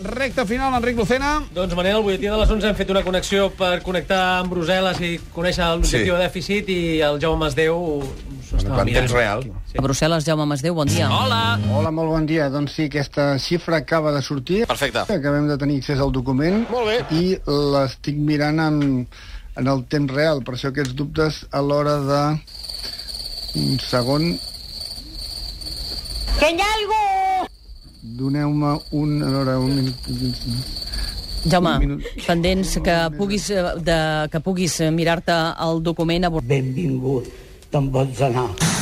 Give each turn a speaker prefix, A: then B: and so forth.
A: Recte final, Enric Lucena.
B: Doncs, Manel, el butlletí de les 11 hem fet una connexió per connectar amb Brussel·les i conèixer
C: Sí.
B: l'objectiu de dèficit i el Jaume Masdeu s'ho estava
C: En temps
B: mirant.
C: real.
D: A Brussel·les, Jaume Masdeu, bon dia.
B: Hola!
E: Hola, molt bon dia. Doncs sí, aquesta xifra acaba de sortir.
C: Perfecte.
E: Acabem de tenir accés al document. Molt bé. I l'estic mirant en, en el temps real. Per això aquests dubtes a l'hora de... Un segon.
F: ¡Que hay algo!
E: Doneu-me un... A veure, un minut...
D: Jaume,
E: Un minut.
D: pendents que puguis, eh, de, que puguis eh, mirar-te el document a Bru-
G: benvingut, te'n pots anar.